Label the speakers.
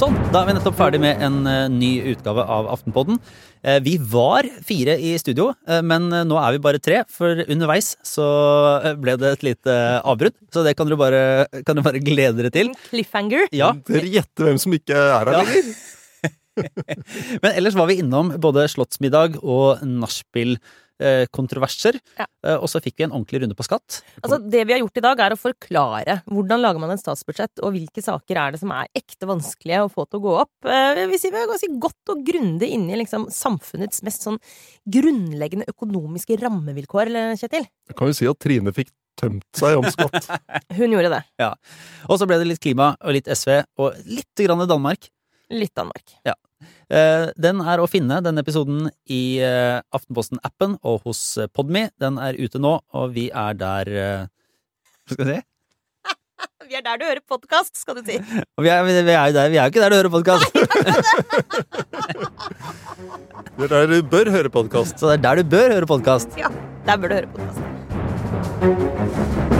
Speaker 1: Sånn, da er vi nettopp ferdig med en eh, ny utgave av Aftenpodden. Eh, vi var fire i studio, eh, men eh, nå er vi bare tre, for underveis så eh, ble det et lite eh, avbrudd. Så det kan du bare, kan du bare glede dere til.
Speaker 2: Cliffhanger.
Speaker 1: Ja,
Speaker 3: Dere gjetter hvem som ikke er her
Speaker 1: Ja.
Speaker 3: lenger.
Speaker 1: Men ellers var vi innom både slottsmiddag og nachspiel-kontroverser.
Speaker 2: Ja.
Speaker 1: Eh, Og så fikk vi en ordentlig runde på skatt.
Speaker 2: Altså, det vi har gjort i dag, er å forklare hvordan lager man en statsbudsjett, og hvilke saker er det som er ekte vanskelige å få til å gå opp. Eh, Vi sier vi er ganske godt og grundig inne i liksom, samfunnets mest sånn grunnleggende økonomiske rammevilkår, eller, Kjetil.
Speaker 3: Jeg kan jo si at Trine fikk tømt seg om skatt.
Speaker 2: Hun gjorde det.
Speaker 1: Og så ble det litt klima og litt SV og litt grann Danmark.
Speaker 2: Litt Danmark.
Speaker 1: Eh, Den er å finne, den episoden, i eh, Aftenposten-appen og hos eh, Podme. Den er ute nå, og vi er der eh, Hva skal jeg si?
Speaker 2: Vi er der du hører podkast, skal du si.
Speaker 1: Og Vi er, vi er jo der, vi er jo ikke der du hører podkast,
Speaker 3: Dere der bør høre podkast.
Speaker 1: så det er der du bør høre podkast.
Speaker 2: Ja, der bør du høre podkast.